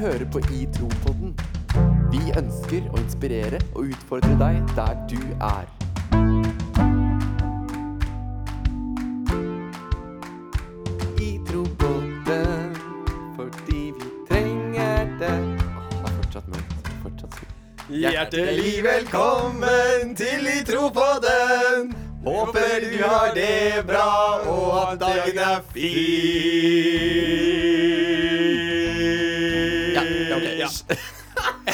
hører på I Tro-podden. Vi ønsker å inspirere og utfordre deg der du er. I Tro-podden, fordi vi trenger det. Åh, det er fortsatt mørkt. Fortsatt skummelt. Hjertelig velkommen til I tro på den. Håper du har det bra, og at dagen er fin. Ja, ja, ok.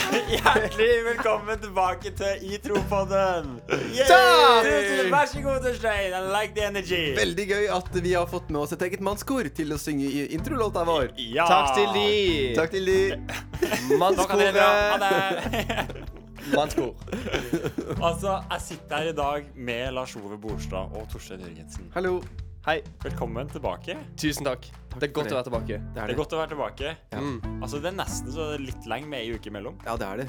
Hjertelig velkommen tilbake til I tro på den. Takk! Vær så god, Torstein. I like the energy. Veldig gøy at vi har fått med oss et eget mannskor til å synge i introlåta vår. Ja. Takk til de. Ah, Takk til de. Nå kan dere Mannskoret. dra. Ha det. Mannskor. altså, jeg sitter her i dag med Lars Ove Borstad og Torstein Jørgensen. Hallo. Hei. Velkommen tilbake. Tusen takk. Det er for godt det. å være tilbake. Det er godt å være tilbake. Ja. Mm. Altså, Det er nesten så det er litt lenge med ei uke imellom. Ja, det er det.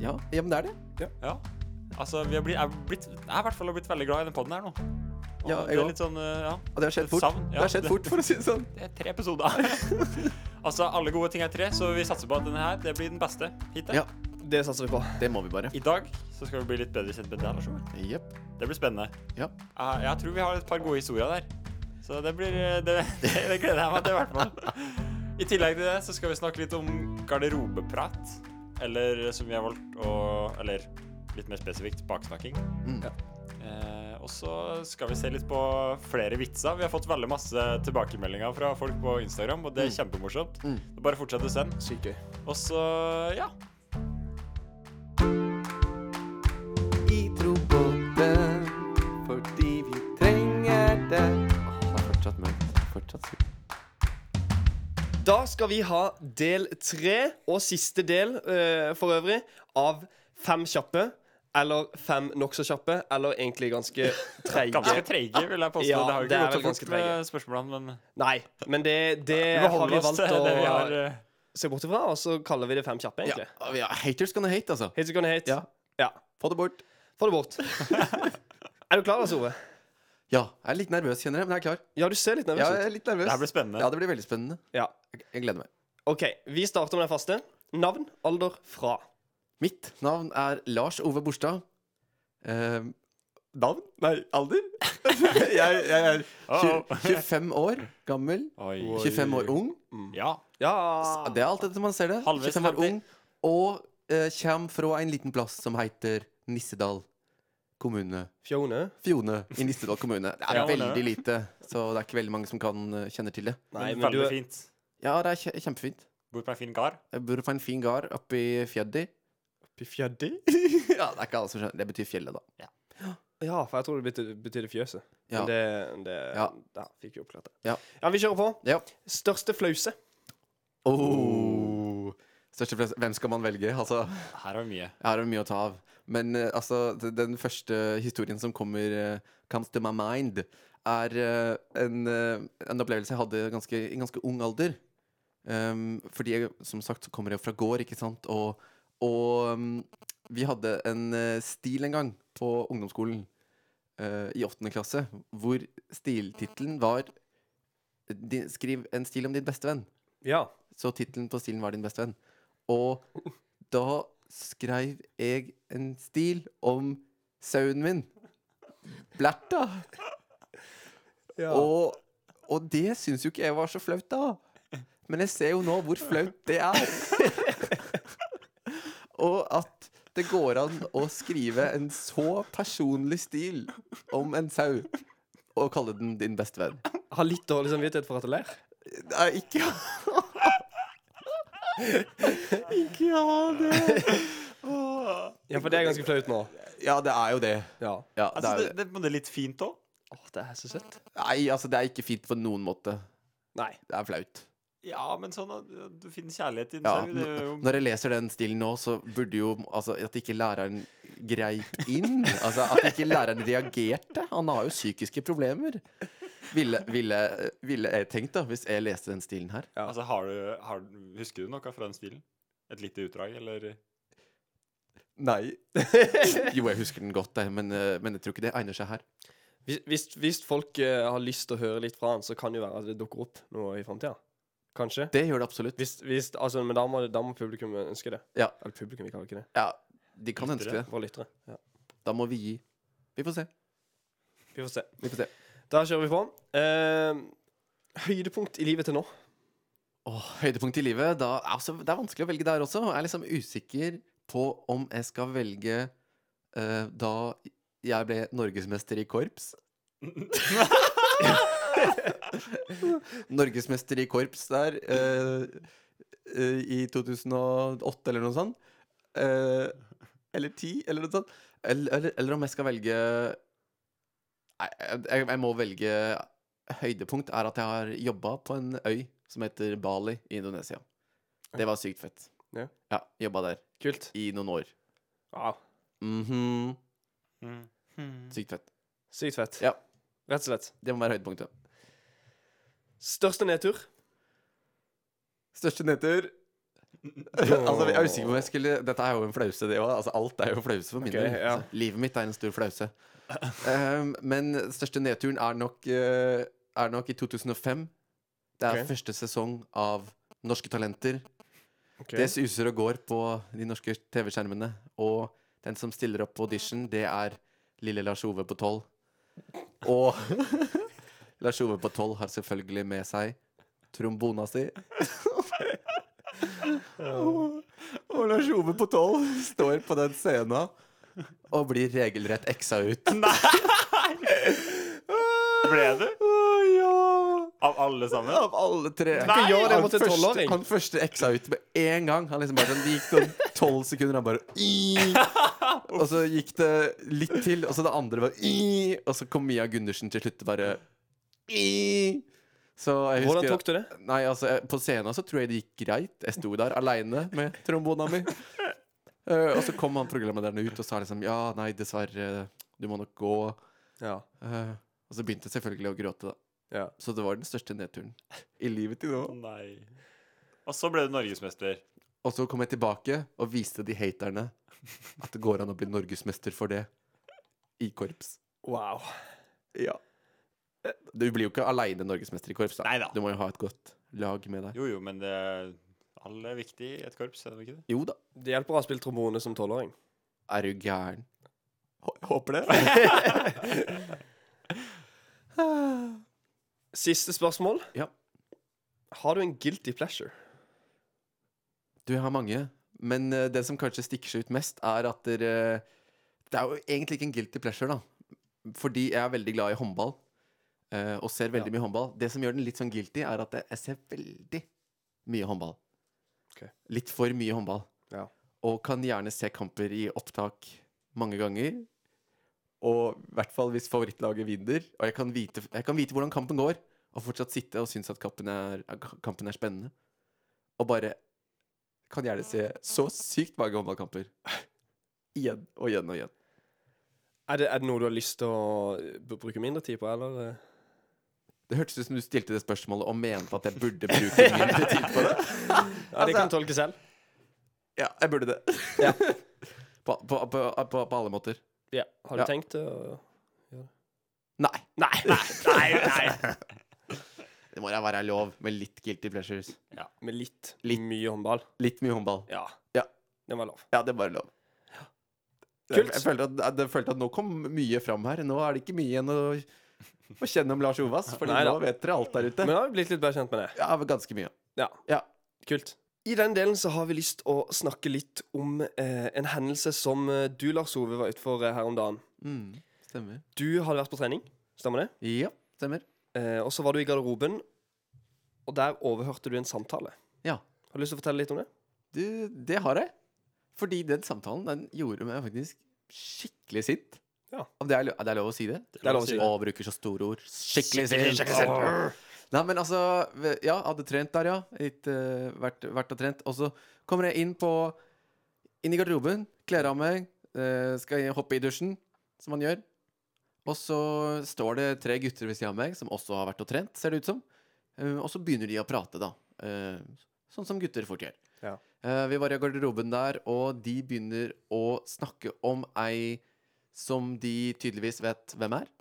Ja, ja men det er det. Ja. Altså, vi har blitt, jeg, har blitt, jeg har i hvert fall blitt veldig glad i den podden her nå. Og Ja, jeg det er også. litt sånn, eh, ja, Og det har skjedd fort. Savn, ja. det har skjedd fort, for å si det sånn. det er tre episoder. altså, alle gode ting er tre, så vi satser på at denne her det blir den beste hittil. Ja. Det satser vi på. Det må vi bare. I dag så skal vi bli litt bedre kjent med deg, Lars Ove. Jepp. Det blir spennende. Ja. Jeg, jeg tror vi har et par gode historier der. Så det blir eh, Det, det, det gleder jeg meg til, i hvert fall. I tillegg til det så skal vi snakke litt om garderobeprat. Eller som vi har valgt å Eller litt mer spesifikt baksnakking. Mm. Ja. Eh, og så skal vi se litt på flere vitser. Vi har fått veldig masse tilbakemeldinger fra folk på Instagram, og det er kjempemorsomt. Mm. Så Bare fortsett å sende. Sykt gøy. Og så, ja. I trobåten, fordi vi trenger det. Åh, det er fortsatt mørkt. Fortsatt skummelt. Da skal vi ha del tre, og siste del eh, for øvrig, av Fem kjappe. Eller Fem nokså kjappe. Eller egentlig ganske Ganske treige. treige, vil jeg påstå. Ja, det har jo det ikke er gått vel så fort ganske med spørsmålene, men Nei, men det, det vi må har holde vi oss valgt til det vi har å eh, se bort ifra, og så kaller vi det Fem kjappe, Ja. egentlig. ja, haters gonna hate, altså. Hate gonna hate. Ja. ja. Få det bort. Få det bort. er du klar, Lars Ove? Ja, jeg er litt nervøs, kjenner jeg, men jeg er klar. Ja, du ser litt nervøs Ja, ut. jeg er litt nervøs. Det her blir spennende. Ja, det blir veldig spennende. Ja. Jeg- Jeg gleder meg. OK, vi starter med den faste. Navn, alder, fra. Mitt navn er Lars Ove Borstad. Eh, navn? Nei, alder? jeg, jeg er Uh-oh. 25 år gammel. Oi. 25 år ung. Ja. Ja Ja, Det er alt etter man ser det. Halvveis 25 år femti. ung og eh, kjem fra en liten plass som heter Nissedal kommune. Fjone? Fjone i Nissedal kommune. Det er Ja, men det er veldig lite, så det er ikke veldig mange som kan eh, kjenne til det. Nei, men men du veldig er fint. Ja, det er kje- kjempefint. Bor på en fin gard. Jeg bor på en fin gard oppe i Fjeddi. Fjøddi? ja, det er ikke alle som skjønner. Det betyr fjellet, da. Ja, for jeg tror det betyr- betydde fjøset. Ja. Men det, det ja. Ja. fikk vi oppklart det. Ja. vi kjører på. Ja. Største flause. Oh. Største flest, hvem skal man velge? Altså, Her er mye. jeg har jo mye å ta av. Men eh, altså, d- den første historien som kommer eh, Comes to my mind, er eh, en, eh, en opplevelse jeg hadde ganske, i ganske ung alder. Um, fordi jeg, som sagt, så kommer jeg fra gård, ikke sant? Og, og um, vi hadde en eh, stil en gang på ungdomsskolen eh, i åttende klasse, hvor stiltittelen var eh, di- Skriv en stil om din beste venn. Ja. Så tittelen på stilen var din beste venn. Og da skrev jeg en stil om sauen min. Blerta. Og Og, og det syns jo ikke jeg var så flaut da. Men jeg ser jo nå hvor flaut det er. og at det går an å skrive en så personlig stil om en sau og kalle den din beste venn. har litt dårlig samvittighet for at du ler. Nei, ikke Ikke ha det. Ja, for det er ganske flaut nå. Ja, det er jo det. Ja. Ja, det Altså, er det, jo det. det, men det er litt fint òg. Å, det er så søtt. Nei, altså, det er ikke fint på noen måte. Nei. Det er flaut. Ja, men sånn at du finner kjærlighet i en Ja, sau. Det er jo Når jeg leser den stilen nå, så burde jo altså, at ikke læreren greip inn. Altså, at ikke læreren reagerte. Han har jo psykiske problemer. Ville, ville, ville jeg tenkt, da, hvis jeg leste den stilen her. Ja. Altså, har du, har, du- Husker du noe fra den stilen? Et lite utdrag, eller? Nei. Jo, jeg husker den godt, jeg, men, eh, men jeg tror ikke det egner seg her. Hvis, hvis, hvis folk eh, har lyst til å høre litt fra han, så kan det jo være at det dukker opp noe i framtida. kanskje. Det gjør det absolutt. Hvis, hvis, altså, men da må, da må publikum ønske det. Ja. Eller publikum, vi kaller ikke det. Ja, de kan Lyttere. ønske det. Våre lyttere. Ja. Da må vi gi. Vi får se. Vi får se. Vi får se. Da kjører vi på. Eh, høydepunkt i livet til nå. Åh, høydepunkt i livet da, altså, Det er vanskelig å velge der også. Jeg er liksom usikker på om jeg skal velge eh, da jeg ble norgesmester i korps. norgesmester i korps der eh, eh, i 2008 eller noe sånt. Eh, eller 10, eller noe sånt. Eller, eller, eller om jeg skal velge Nei, jeg, jeg må velge høydepunkt er at jeg har jobba på en øy som heter Bali i Indonesia. Det var sykt fett. Ja. ja jobba der Kult. i noen år. Wow. Mhm, Mm. Sykt fett. Sykt fett. Ja. Rett og slett. Det må være høydepunktet. Største nedtur? Største nedtur altså, jeg er usikker på om jeg skulle Dette er jo en flause, det òg. Altså, alt er jo flause for min Ok, del. ja. Altså, livet mitt er en stor flause. um, men største nedturen er nok, eh, er nok i 2005. Det er Ok. første sesong av Norske Talenter. Ok. Det suser og går på de norske TV-skjermene. Og den som stiller opp på audition, det er lille Lars Ove på tolv. Og Lars Ove på tolv har selvfølgelig med seg trombona si. og, og Lars Ove på tolv står på den scenen og blir regelrett eksa ut. Ble du? ja. Av alle sammen? Av alle tre. Nei! Ikke gjør det Han mot en første- tolvåring. Han første eksa ut med en gang. Han liksom bare sånn, Det gikk sånn tolv sekunder, han bare «Ii». Og så gikk det litt til, og så det andre var «Ii», Og så kom Mia Gundersen til slutt og bare «Ii». Så jeg husker Hvordan tok du det? Nei, altså, jeg, på scenen så tror jeg det gikk greit. Jeg sto der aleine med trombona mi. Eh, og så kom han programlederen ut og sa liksom Ja, nei, dessverre. Du må nok gå. Ja. Eh, og så begynte jeg selvfølgelig å gråte, da. ja. Så det var den største nedturen i livet til nå. Nei. Og så ble du norgesmester. Og så kom jeg tilbake og viste de haterne at det går an å bli norgesmester for det i korps. Wow. Ja. Du blir jo ikke aleine norgesmester i korps. da Neida. Du må jo ha et godt lag med deg. Jo, jo, men det alle er viktig i et korps, er de ikke det? Jo da. Det hjelper å ha spilt trombone som tolvåring. Er du gæren? Håper det. Siste spørsmål. Ja. Har du en guilty pleasure? Du, jeg har mange. Men eh, det som kanskje stikker seg ut mest, er at dere eh, Det er jo egentlig ikke en guilty pleasure, da. Fordi jeg er veldig glad i håndball. eh, og ser veldig mye håndball. Det som gjør den litt sånn guilty, er at jeg- jeg ser veldig mye håndball. Ok. Litt for mye håndball. Ja. Og kan gjerne se kamper i opptak mange ganger. Og i hvert fall hvis favorittlaget vinner. Og jeg kan vite, jeg kan vite hvordan kampen går, og fortsatt sitte og synes at kampen er, kampen er spennende. Og bare kan gjerne se så sykt mange håndballkamper. Igjen og igjen og igjen. Er det, er det noe du har lyst til å eh, b- bruke mindre tid på, eller? eh? Det hørtes ut som du stilte det spørsmålet og mente at jeg burde bruke mindre tid på det. Ja, det kan du tolke selv. Ja, jeg burde det. på, på, på, på, på alle måter. Ja. Har du Ja. tenkt å Nei. Nei, nei, Nei, nei. Det må da være lov med litt guilty pleasures. Med litt, Litt. mye håndball. Litt mye håndball. Ja. Ja. Den var lov. Ja, det er bare lov. Jeg, Kult. jeg, følte at, jeg følte at nå kom mye fram her. Nå er det ikke mye igjen å, å kjenne om Lars Ovas, for Nei nå da. vet dere alt der ute. Men jeg har blitt litt bedre kjent med det. Ja, ganske mye. Ja. Ja. Kult. I den delen så har vi lyst å snakke litt om eh, en hendelse som eh, du, Lars Ove, var utfor eh, her om dagen. Mm, stemmer. Du hadde vært på trening, stemmer det? Ja, stemmer. Eh, og så var du i garderoben, og der overhørte du en samtale. Ja. Har du lyst til å fortelle litt om det? Du, det har jeg. Fordi den samtalen den gjorde meg faktisk skikkelig sint. Ja. Om det er, lo- er det lov å si det? Det er lov å si det. Å, bruker så store ord. Skikkelig Skikkelig, sint! skikkelig sint. Åh. Nei, men altså ve- Ja, hadde trent der, ja. Litt, eh, vært, vært og trent. Og så kommer jeg inn på Inn i garderoben, kler av meg, eh, skal jeg hoppe i dusjen, som man gjør. Og så står det tre gutter ved siden av meg, som også har vært og trent, ser det ut som. Eh, og så begynner de å prate, da. Eh, sånn som gutter fort gjør. Ja. Eh, vi var i garderoben der, og de begynner å snakke om ei som de tydeligvis vet hvem er.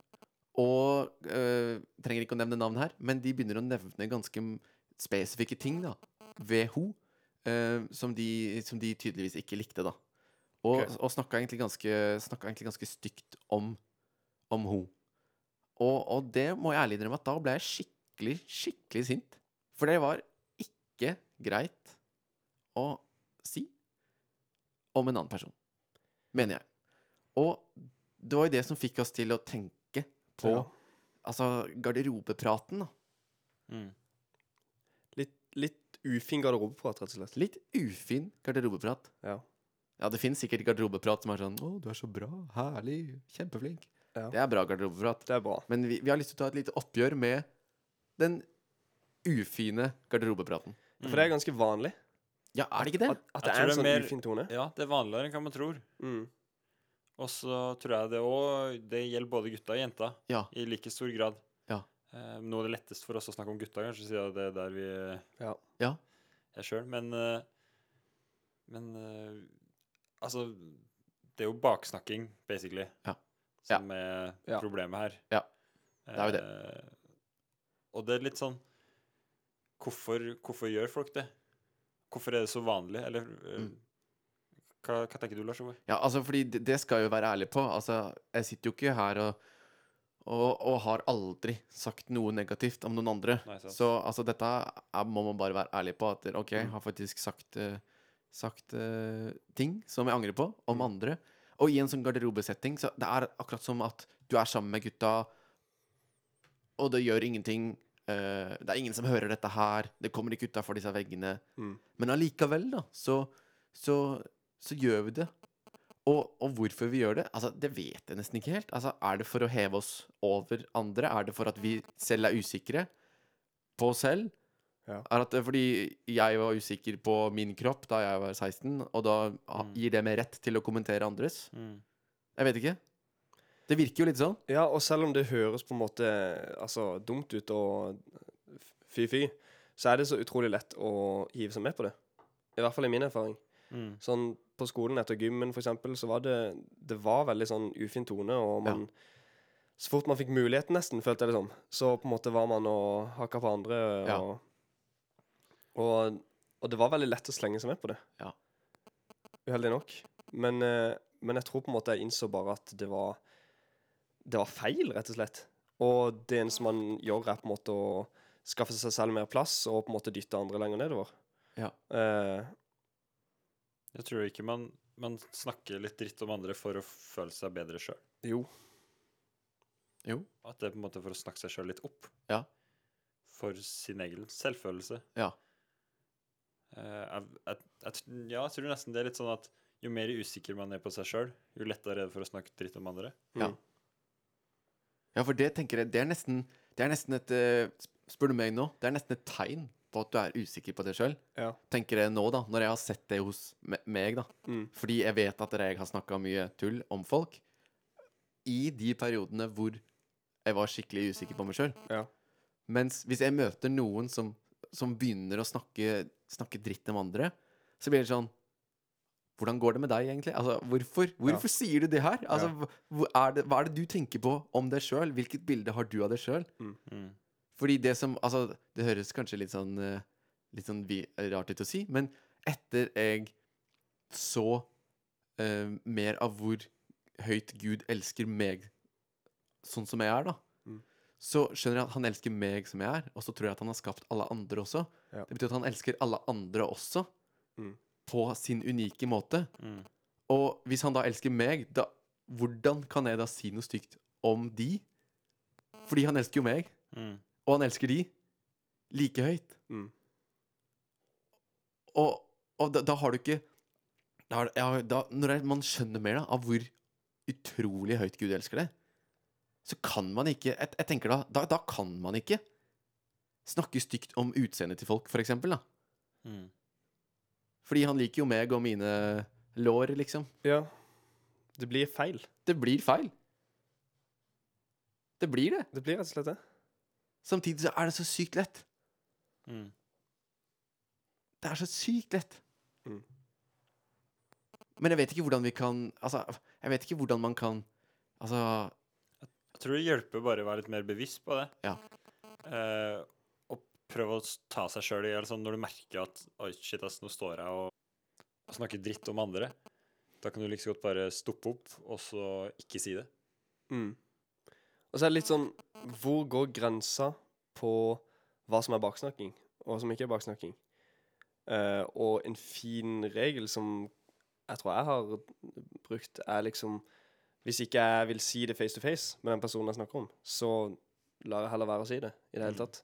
Og eh, trenger ikke å nevne navn her, men de begynner å nevne ganske m- spesifikke ting da ved henne eh, som, de, som de tydeligvis ikke likte. da Og, Ok. og snakka egentlig ganske, snakka egentlig ganske stygt om, om henne. Og, og det må jeg ærlig innrømme at da ble jeg skikkelig, skikkelig sint. For det var ikke greit å si om en annen person, mener jeg. Og det var jo det som fikk oss til å tenke på Ja. altså garderobepraten. da Mm. Litt, litt ufin garderobeprat, rett og slett. Litt ufin garderobeprat. Ja. Ja, det fins sikkert garderobeprat som er sånn 'Å, du er så bra. Herlig. Kjempeflink.' Ja. Det er bra garderobeprat. Det er bra. Men vi, vi har lyst til å ta et lite oppgjør med den ufine garderobepraten. For det er ganske vanlig. Mm. Ja, er det ikke det? At, at det Jeg tror er det er en sånn mer- ufin tone. Ja, det er vanligere enn hva man tror. Mm. Og så tror jeg det òg Det gjelder både gutta og jenta Ja. i like stor grad. Ja. Eh, noe av det letteste for oss å snakke om gutta, kanskje, siden det er der vi Ja. Ja. er sjøl. Men eh, Men eh, altså Det er jo baksnakking, basically, Ja. som er Ja. problemet her. Ja. er jo det. Eh, og det er litt sånn Hvorfor, hvorfor gjør folk det? Hvorfor er det så vanlig? Eller eh, Mm. hva, hva tenker du, Lars Ove? Ja, altså, fordi det, det skal jeg jo være ærlig på. Altså, jeg sitter jo ikke her og og, og har aldri sagt noe negativt om noen andre. Nei, sant. så altså, dette er, må man bare være ærlig på. At OK, jeg har faktisk sagt, eh, sagt eh, ting som jeg angrer på, om andre. Og i en sånn garderobesetting, så det er akkurat som at du er sammen med gutta, og det gjør ingenting. eh, det er ingen som hører dette her. Det kommer ikke utafor disse veggene. Mm. Men allikevel, da, så, så, så gjør vi det. Og, og hvorfor vi gjør det, altså, det vet jeg nesten ikke helt. Altså, er det for å heve oss over andre? Er det for at vi selv er usikre på oss selv? Ja. Er at, fordi jeg var usikker på min kropp da jeg var 16, og da ah, Mm. gir det meg rett til å kommentere andres? Jeg vet ikke. Det virker jo litt sånn. Ja, og selv om det høres på en måte altså, dumt ut og fy-fy, så er det så utrolig lett å hive seg med på det. I hvert fall i min erfaring. Mm. Sånn På skolen etter gymmen, for eksempel, så var det Det var veldig sånn ufin tone, og man Så fort man fikk muligheten, nesten, følte jeg det som, så på en måte var man og hakka på andre, og, Ja. og Og det var veldig lett å slenge seg med på det. Ja. Uheldig nok. Men, eh, men jeg tror på en måte jeg innså bare at det var det var feil, rett og slett. Og det eneste man gjør, er på en måte å skaffe seg selv mer plass og på en måte dytte andre lenger nedover. Ja. Eh, Jeg tror ikke man, man snakker litt dritt om andre for å føle seg bedre sjøl. jo. Jo. At det er på en måte for å snakke seg sjøl litt opp. Ja. For sin egen selvfølelse. Ja. Eh, jeg, jeg, jeg, tr- ja, jeg tror nesten det er litt sånn at jo mer usikker man er på seg sjøl, jo lettere er det for å snakke dritt om andre. Ja. Ja, for det tenker jeg Det er nesten, det er nesten et eh, sp- Spør du meg nå, det er nesten et tegn på at du er usikker på det sjøl. Ja. Tenker jeg nå, da, når jeg har sett det hos me- meg, da. Mm. Fordi jeg vet at jeg har snakka mye tull om folk i de periodene hvor jeg var skikkelig usikker på meg sjøl. Ja. Mens hvis jeg møter noen som, som begynner å snakke, snakke dritt om andre, så blir det sånn Hvordan går det med deg, egentlig? Altså, hvorfor hvorfor sier du det her? Altså, Ja. hv- hvor er det, hva er det du tenker på om deg sjøl? Hvilket bilde har du av deg sjøl? Mm. Fordi det som Altså, det høres kanskje litt sånn eh, Litt sånn vi, rart ut å si, men etter jeg så eh, mer av hvor høyt Gud elsker meg sånn som jeg er, da, Mm. så skjønner jeg at han elsker meg som jeg er, og så tror jeg at han har skapt alle andre også. Ja. Det betyr at han elsker alle andre også, Mm. på sin unike måte. Og hvis han da elsker meg, da, hvordan kan jeg da si noe stygt om de? Fordi han elsker jo meg. Og han elsker de like høyt. Mm. Og, og da, da har du ikke da, har- ja, da, Når man skjønner mer da, av hvor utrolig høyt Gud elsker det, så kan man ikke Jeg, jeg tenker da, da Da kan man ikke snakke stygt om utseendet til folk, for eksempel. Da. Mm. Fordi han liker jo meg og mine lår, liksom. ja. Det blir feil. Det blir feil. Det blir det. Det blir rett og slett det. Samtidig så er det så sykt lett. Mm. Det er så sykt lett. Mm. Men jeg vet ikke hvordan vi kan Altså, jeg vet ikke hvordan man kan Altså Jeg tror det hjelper bare å være litt mer bevisst på det. Ja. Eh, og prøve å s- ta seg sjøl i eller sånn, Når du merker at Oi, shit, ass, nå står jeg og, og snakker dritt om andre. Da kan du like så godt bare stoppe opp og så ikke si det. Mm. Og så er det litt sånn Hvor går grensa på hva som er baksnakking, og hva som ikke er baksnakking? Eh, og en fin regel som jeg tror jeg har brukt, er liksom Hvis ikke jeg vil si det face to face med den personen jeg snakker om, så lar jeg heller være å si det i det hele Mm. tatt.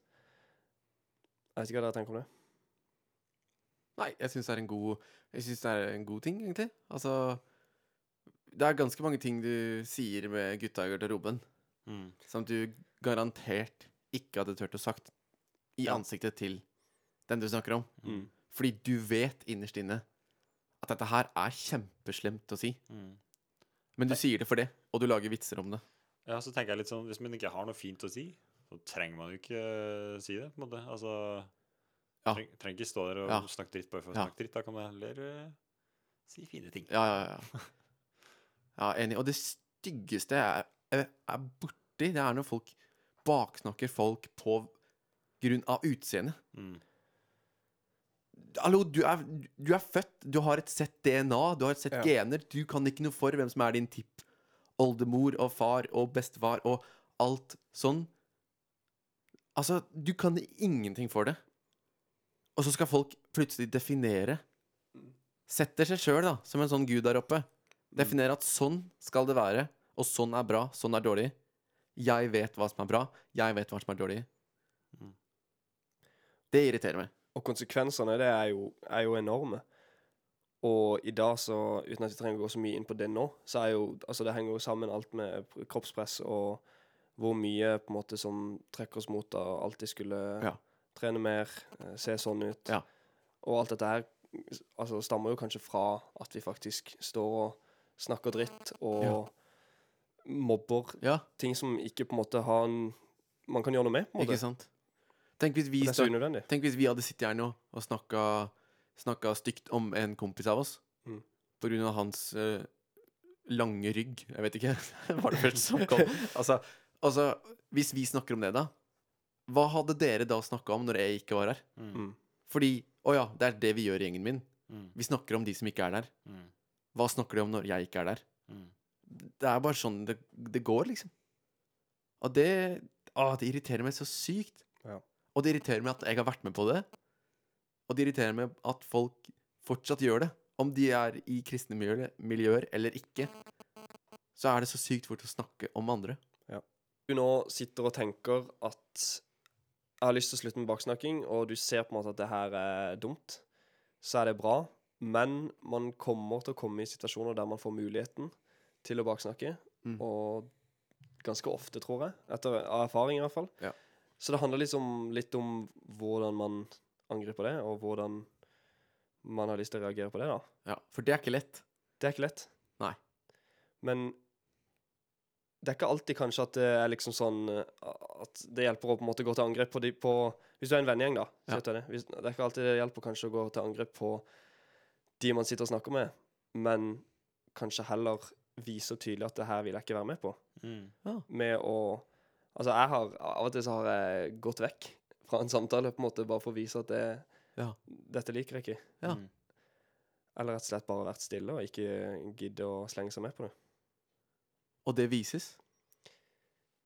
Jeg vet ikke hva dere tenker om det. Nei, jeg syns det er en god Jeg synes det er en god ting, egentlig. Altså Det er ganske mange ting du sier med gutta i garderoben som du garantert ikke hadde turt å sagt i Ja. ansiktet til den du snakker om. Mm. Fordi du vet innerst inne at dette her er kjempeslemt å si. Men du sier det for det, og du lager vitser om det. Ja, så tenker jeg litt sånn Hvis man ikke har noe fint å si, så trenger man jo ikke eh, si det, på en måte. Altså Ja. treng, Trenger ikke stå der og Ja. snakke dritt bare for å Ja. snakke dritt. Da kan man heller eh, si fine ting. Ja, ja, ja. ja enig. Og det styggeste jeg er, er borti, det er når folk baksnakker folk på grunn av utseende. Mm. Hallo, du er, du er født, du har et sett DNA, du har et sett Ja. gener. Du kan ikke noe for hvem som er din tippoldemor og far og bestefar og alt sånn. Altså, du kan ingenting for det. Og så skal folk plutselig definere Setter seg sjøl, da, som en sånn gud der oppe. Definere at sånn skal det være, og sånn er bra, sånn er dårlig. Jeg vet hva som er bra, jeg vet hva som er dårlig. Mm. Det irriterer meg. Og konsekvensene av det er jo, er jo enorme. Og i dag, så, uten at vi trenger å gå så mye inn på det nå, så er jo altså det henger jo sammen alt med pr- kroppspress og hvor mye på en måte som trekker oss mot å alltid skulle Ja. trene mer, eh, se sånn ut. Ja. Og alt dette her s- altså, stammer jo kanskje fra at vi faktisk står og snakker dritt og Ja. mobber Ja, ting som ikke på en måte har en Man kan gjøre noe med, på en måte. ikke sant? Tenk hvis vi, Det er så snak- unødvendig. tenk hvis vi hadde sittet her nå og snakka, snakka stygt om en kompis av oss Mm. på grunn av hans eh, lange rygg. Jeg vet ikke. var det første som kom. Altså, altså, hvis vi snakker om det, da, hva hadde dere da snakka om når jeg ikke var her? Mm. Mm. Fordi Å ja, det er det vi gjør i gjengen min. Mm. Vi snakker om de som ikke er der. Mm. Hva snakker de om når jeg ikke er der? Mm. Det er bare sånn det, det går, liksom. Og det Å, det irriterer meg så sykt. Ja. Og det irriterer meg at jeg har vært med på det. Og det irriterer meg at folk fortsatt gjør det. Om de er i kristne miljøer, miljøer eller ikke, så er det så sykt fort å snakke om andre. du nå sitter og tenker at jeg har lyst til å slutte med baksnakking, og du ser på en måte at det her er dumt, så er det bra. Men man kommer til å komme i situasjoner der man får muligheten til å baksnakke. Mm. Og ganske ofte, tror jeg. Etter, av erfaring, i hvert fall. Ja. Så det handler liksom litt om hvordan man angriper det, og hvordan man har lyst til å reagere på det, da. Ja, For det er ikke lett. Det er ikke lett. Nei. Men det er ikke alltid kanskje at det er liksom sånn eh, at det hjelper å på en måte gå til angrep på de på Hvis du er en vennegjeng, da. så Ja. vet du Det. Hvis, det er ikke alltid det hjelper kanskje å gå til angrep på de man sitter og snakker med, men kanskje heller viser tydelig at det her vil jeg ikke være med på. Mm. Med å Altså, jeg har Av og til så har jeg gått vekk fra en samtale, på en måte, bare for å vise at det, Ja. dette liker jeg ikke. Ja. Mm. Eller rett og slett bare vært stille og ikke gidde å slenge seg med på det. Og det vises.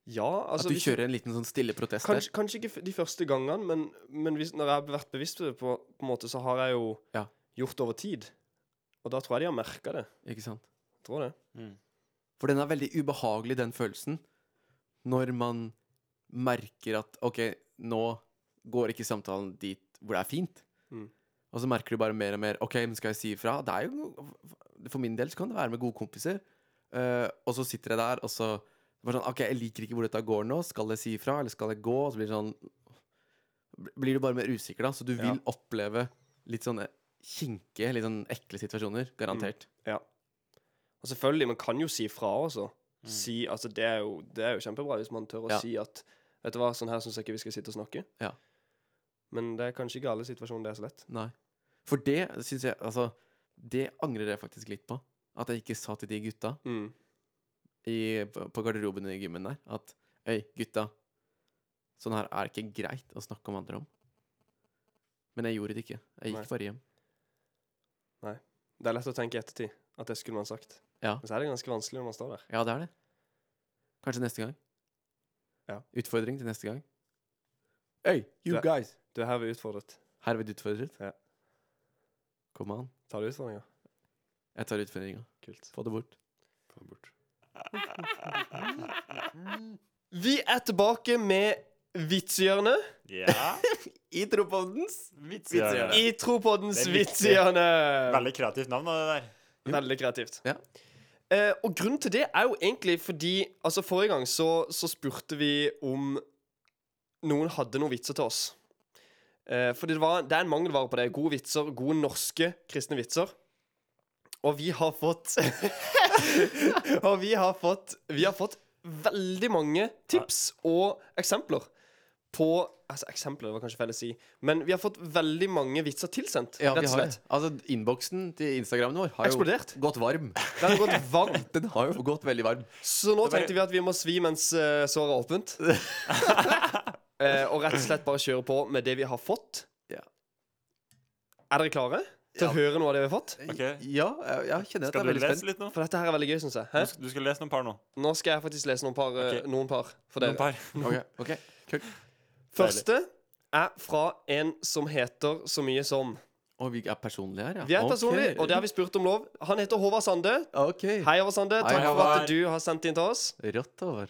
Ja, altså at du hvis kjører en liten sånn stille protest kanskje, kanskje ikke f- de første gangene, men, men hvis, når jeg har vært bevisst på det, på, på en måte, så har jeg jo Ja. gjort det over tid. Og da tror jeg de har merka det. der. Ikke sant? Jeg Tror det. Mm. For den er veldig ubehagelig, den følelsen. Når man merker at OK, nå går ikke samtalen dit hvor det er fint. Mm. Og så merker du bare mer og mer OK, men skal jeg si ifra? Det er jo, for min del så kan det være med gode kompiser. Eh, og så sitter jeg der, og så bare sånn, OK, jeg liker ikke hvor dette går nå. Skal jeg si ifra, eller skal jeg gå? Og så blir det sånn Blir du bare mer usikker, da. Så du vil oppleve litt sånne kinkige, litt sånn ekle situasjoner. Garantert. Og selvfølgelig, man kan jo si fra også. Mm. Si, altså, det, er jo, det er jo kjempebra hvis man tør å Ja. si at Vet du hva, sånn her syns jeg ikke vi skal sitte og snakke. Ja. Men det er kanskje ikke alle situasjoner det er så lett. Nei. For det syns jeg Altså, det angrer jeg faktisk litt på. At jeg ikke sa til de gutta Mm. i, på på garderoben i gymmen der at Øy, gutta. Sånn her er det ikke greit å snakke om andre om. Men jeg gjorde det ikke. Jeg gikk Nei. bare hjem. Det er lett å tenke i ettertid at det skulle man sagt. Ja. Men så er det ganske vanskelig når man står der. Ja, det er det. Kanskje neste gang. Ja. Utfordring til neste gang. Hey, you Det- guys! Du er herved utfordret. Herved utfordret. Ja. Kom an. Tar du utfordringa? Jeg tar utfordringa. Kult. Få det bort. Få den bort. Vi er tilbake med Vitsehjørnet Ja. I tropoddens Vitser. i Tropoddens Det er viktig. Vitsehjørne. Veldig kreativt navn, da, det der. Veldig kreativt. Ja. Eh, og grunnen til det er jo egentlig fordi Altså Forrige gang så, så spurte vi om noen hadde noen vitser til oss. Eh, fordi det, var, det er en mangelvare på det. Gode vitser, gode norske kristne vitser. Og vi har fått Og vi har fått Vi har fått veldig mange tips og eksempler på Altså eksempler, det var kanskje feil å si, men vi har fått veldig mange vitser tilsendt. Ja, rett vi og har slett. det. Altså, innboksen til Instagramen vår har Eksplodert. jo gått varm. Den har gått varm. Den har jo gått veldig varm. Så Det nå bare- tenkte vi at vi må svi mens eh, såret er åpent. Eh, og rett og slett bare kjøre på med det vi har fått. Ja. Er dere klare til Ja. å høre noe av det vi har fått? Ok. Ja, jeg, jeg kjenner at jeg Skal er du veldig lese spent. litt nå? For dette her er veldig gøy, syns jeg. Du Hæ? skal, du skal lese noen par nå. Nå skal jeg faktisk lese noen par, eh, Ok. noen par for Noen dere. par. Ok, ok, kult. Første er fra en som heter så mye som. Og vi er personlige her, ja. Vi er personlige, og det har vi spurt om lov. Han heter Håvard Sande. Ok. Hei, Håvard Sande. Hei, Takk for Håvard. at du har sendt inn til oss. Rått over.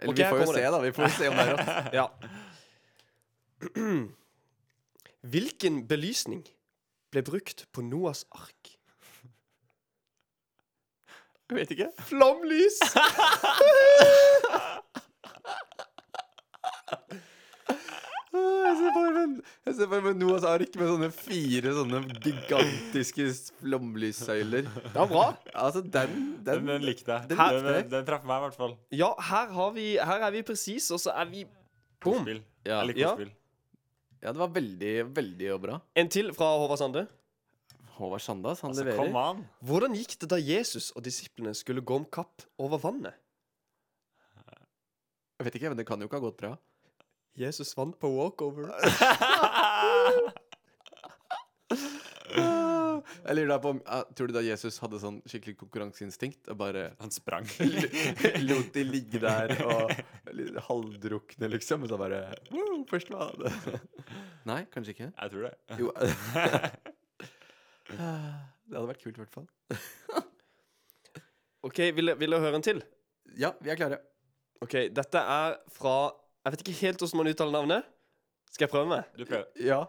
Eller Ok, vi her får jo kommer se, det. da. Vi får jo se om det er rått. Ja. Hvilken belysning ble brukt på Noas ark? Jeg vet ikke. Flomlys! Åh, Jeg ser for meg- jeg ser for meg Noahs ark med sånne fire sånne gigantiske flomlyssøyler. Det var bra. Altså, den, Den, den den likte jeg. den Den, likte jeg. den, den traff meg i hvert fall. Ja, her, har vi, her er vi presis, og så er vi Boom! Spill. ja, Jeg liker Ja. spill. ja, det var veldig, veldig bra. En til fra Håvard Sande. Håvard Sandas, han Altså, leverer. kom an. Hvordan gikk det da Jesus og disiplene skulle gå om kapp over vannet? Jeg vet ikke, men det kan jo ikke ha gått bra. Jesus vant på walkover. Jeg lurer da på om ah, Tror du da Jesus hadde sånn skikkelig konkurranseinstinkt og bare Han sprang. lot de ligge der og litt halvdrukne, liksom? Og så bare wow, Førstemann! Nei, kanskje ikke. Jeg tror det. Jo. Det hadde vært kult, i hvert fall. OK, vil, vil dere høre en til? Ja, vi er klare. OK, dette er fra Jeg vet ikke helt hvordan man uttaler navnet. Skal jeg prøve meg? Du prøver. Ja.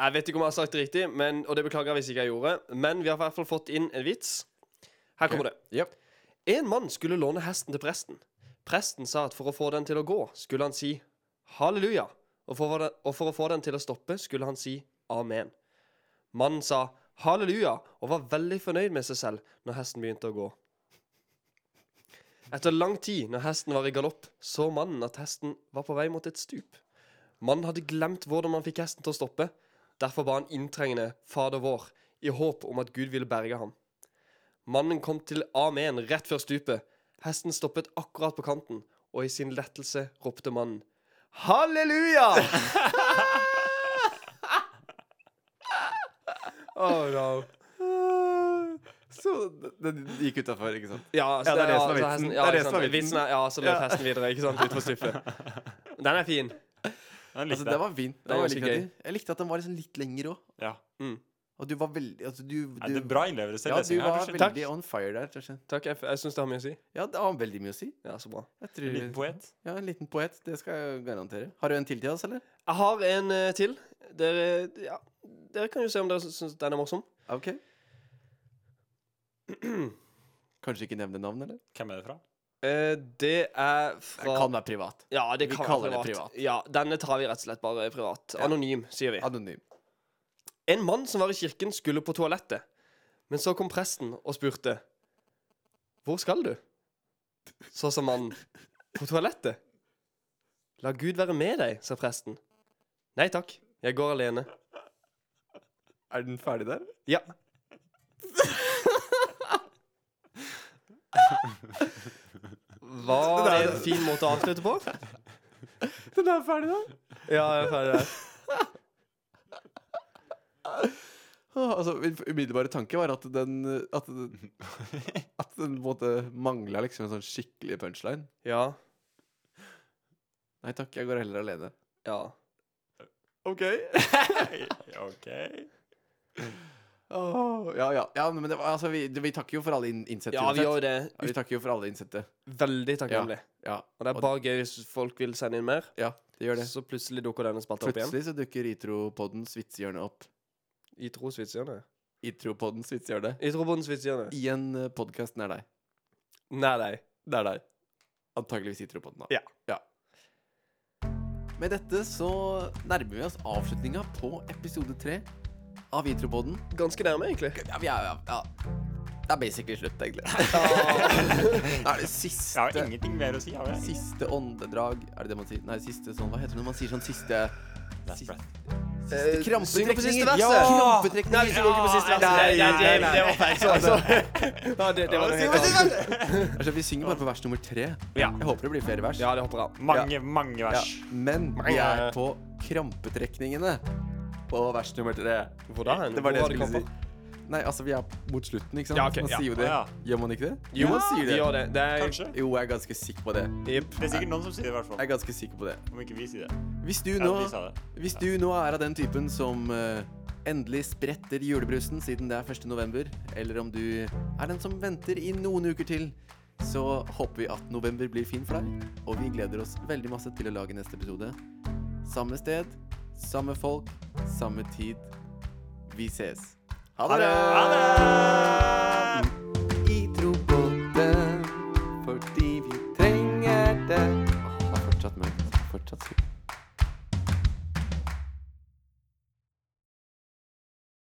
Jeg vet ikke om jeg har sagt det riktig, men, og det beklager jeg hvis ikke jeg gjorde. Men vi har i hvert fall fått inn en vits. Her Ok. kommer det. Yep. En mann skulle låne hesten til presten. Presten sa at for å få den til å gå, skulle han si halleluja. Og for, å få den, og for å få den til å stoppe, skulle han si amen. Mannen sa halleluja og var veldig fornøyd med seg selv når hesten begynte å gå. Etter lang tid, når hesten var i galopp, så mannen at hesten var på vei mot et stup. Mannen hadde glemt hvordan man fikk hesten til å stoppe. Derfor ba han inntrengende Fader vår, i håp om at Gud ville berge ham. Mannen kom til Amen rett før stupet. Hesten stoppet akkurat på kanten, og i sin lettelse ropte mannen Halleluja! oh no. Ah, Så den gikk utafor, ikke sant? Ja, så Ja, det er det som er så vitsen. Det hesten- er Ja, det ikke som er sant. vitsen. vitsen. er- Ja, så løp Ja. hesten videre, ikke sant, utfor stupet. Den er fin. Han Altså, likte det det. var fint. var Det var ganske veldig gøy. kreativ. Jeg likte at den var liksom litt lengre òg. Ja. Og du var veldig altså, du, Nei, du, det er bra innlevelse i ja, du lesinga. var her, veldig on fire der. Torstein. Takk, jeg, f- jeg syns det har mye å si. Ja, det har veldig mye å si. Ja, så bra. Jeg kanskje. tror, En liten poet. Ja, en liten poet. Det skal jeg garantere. Har du en til til oss, eller? Jeg har en eh, til. Dere, ja, dere kan jo se om dere sy- syns den er morsom. Ok. Kanskje ikke nevne navn, eller? Hvem er det fra? Eh, det er Det fra kan være privat. Ja, det vi kan kaller være det privat. Ja, Denne tar vi rett og slett bare privat. Ja. Anonym, sier vi. Anonym. En mann som var i kirken, skulle på toalettet. Men så kom presten og spurte. Hvor skal du? Så sa mannen. På toalettet. La Gud være med deg, sa presten. Nei takk, jeg går alene. Er den ferdig der? Ja. Var det en fin måte å avslutte på? Den er ferdig der. Ja, jeg er ferdig der. Åh, altså, min umiddelbare tanke var at den eh, At den, at den på en måte mangla liksom en sånn skikkelig punchline. Ja. Nei takk, jeg går heller alene. Ja. OK. OK. ja, ja. ja, men det var, altså, vi, vi takker jo for alle inn- innsette. ja, uansett. vi gjør jo det. Ja, vi takker jo for alle innsette. Veldig takknemlig. Ja, Og det er bare gøy hvis folk vil sende inn mer. ja det gjør det. Så plutselig dukker denne spalta opp igjen. Plutselig så dukker Itropoddens vitsehjørne opp. I trosvitsene. Itropoddens vitsehjørne. I trobondens vitsene. I en podkast nær deg. Nei, nei. Nær deg. Antakeligvis Itropodden, da. Ja. Med dette så nærmer vi oss avslutninga på episode tre av Itropodden. Ganske nærme, egentlig. Ja, vi er, ja, ja. Det er basically slutt, egentlig. Det er det Jeg har siste ingenting mer å si. Har jeg? Siste åndedrag Er det det man sier? Nei, siste sånn Hva heter det når man sier sånn siste Last siste- breath. Eh, synger på siste Krampetrekninger! verset. Ja! Nei, vi Krampetrekninger! synger ikke på siste verset. Nei, nei, nei, nei. det var feil. Så, altså. Ja, det, det var noe helt annet. Altså, vi synger bare på vers nummer tre. Ja. Jeg håper det blir flere vers. Ja, det hopper av. Mange, mange vers. Men vi er på krampetrekningene på vers nummer tre. Hvor da hen? Det var det Hvor jeg var skulle det si. Nei, altså, vi er mot slutten, ikke sant? Ja, ok, man ja. sier jo det. Ja. Gjør man ikke det? Jo, man sier de det. gjør det. det er, Kanskje. Jo, jeg er ganske sikker på det. Jepp. Det er sikkert noen som sier det, i hvert fall. Jeg er ganske sikker på det. Om ikke vi sier det. Hvis du Ja, nå, vi sa det. hvis du nå er av den typen som eh, endelig spretter julebrusen siden det er 1. november, eller om du er den som venter i noen uker til, så håper vi at november blir fin for deg, og vi gleder oss veldig masse til å lage neste episode. Samme sted, samme folk, samme tid. Vi ses. Ha det! Ha det! I trobåten, fordi vi trenger det. Åh, det er fortsatt mørkt. Fortsatt surt.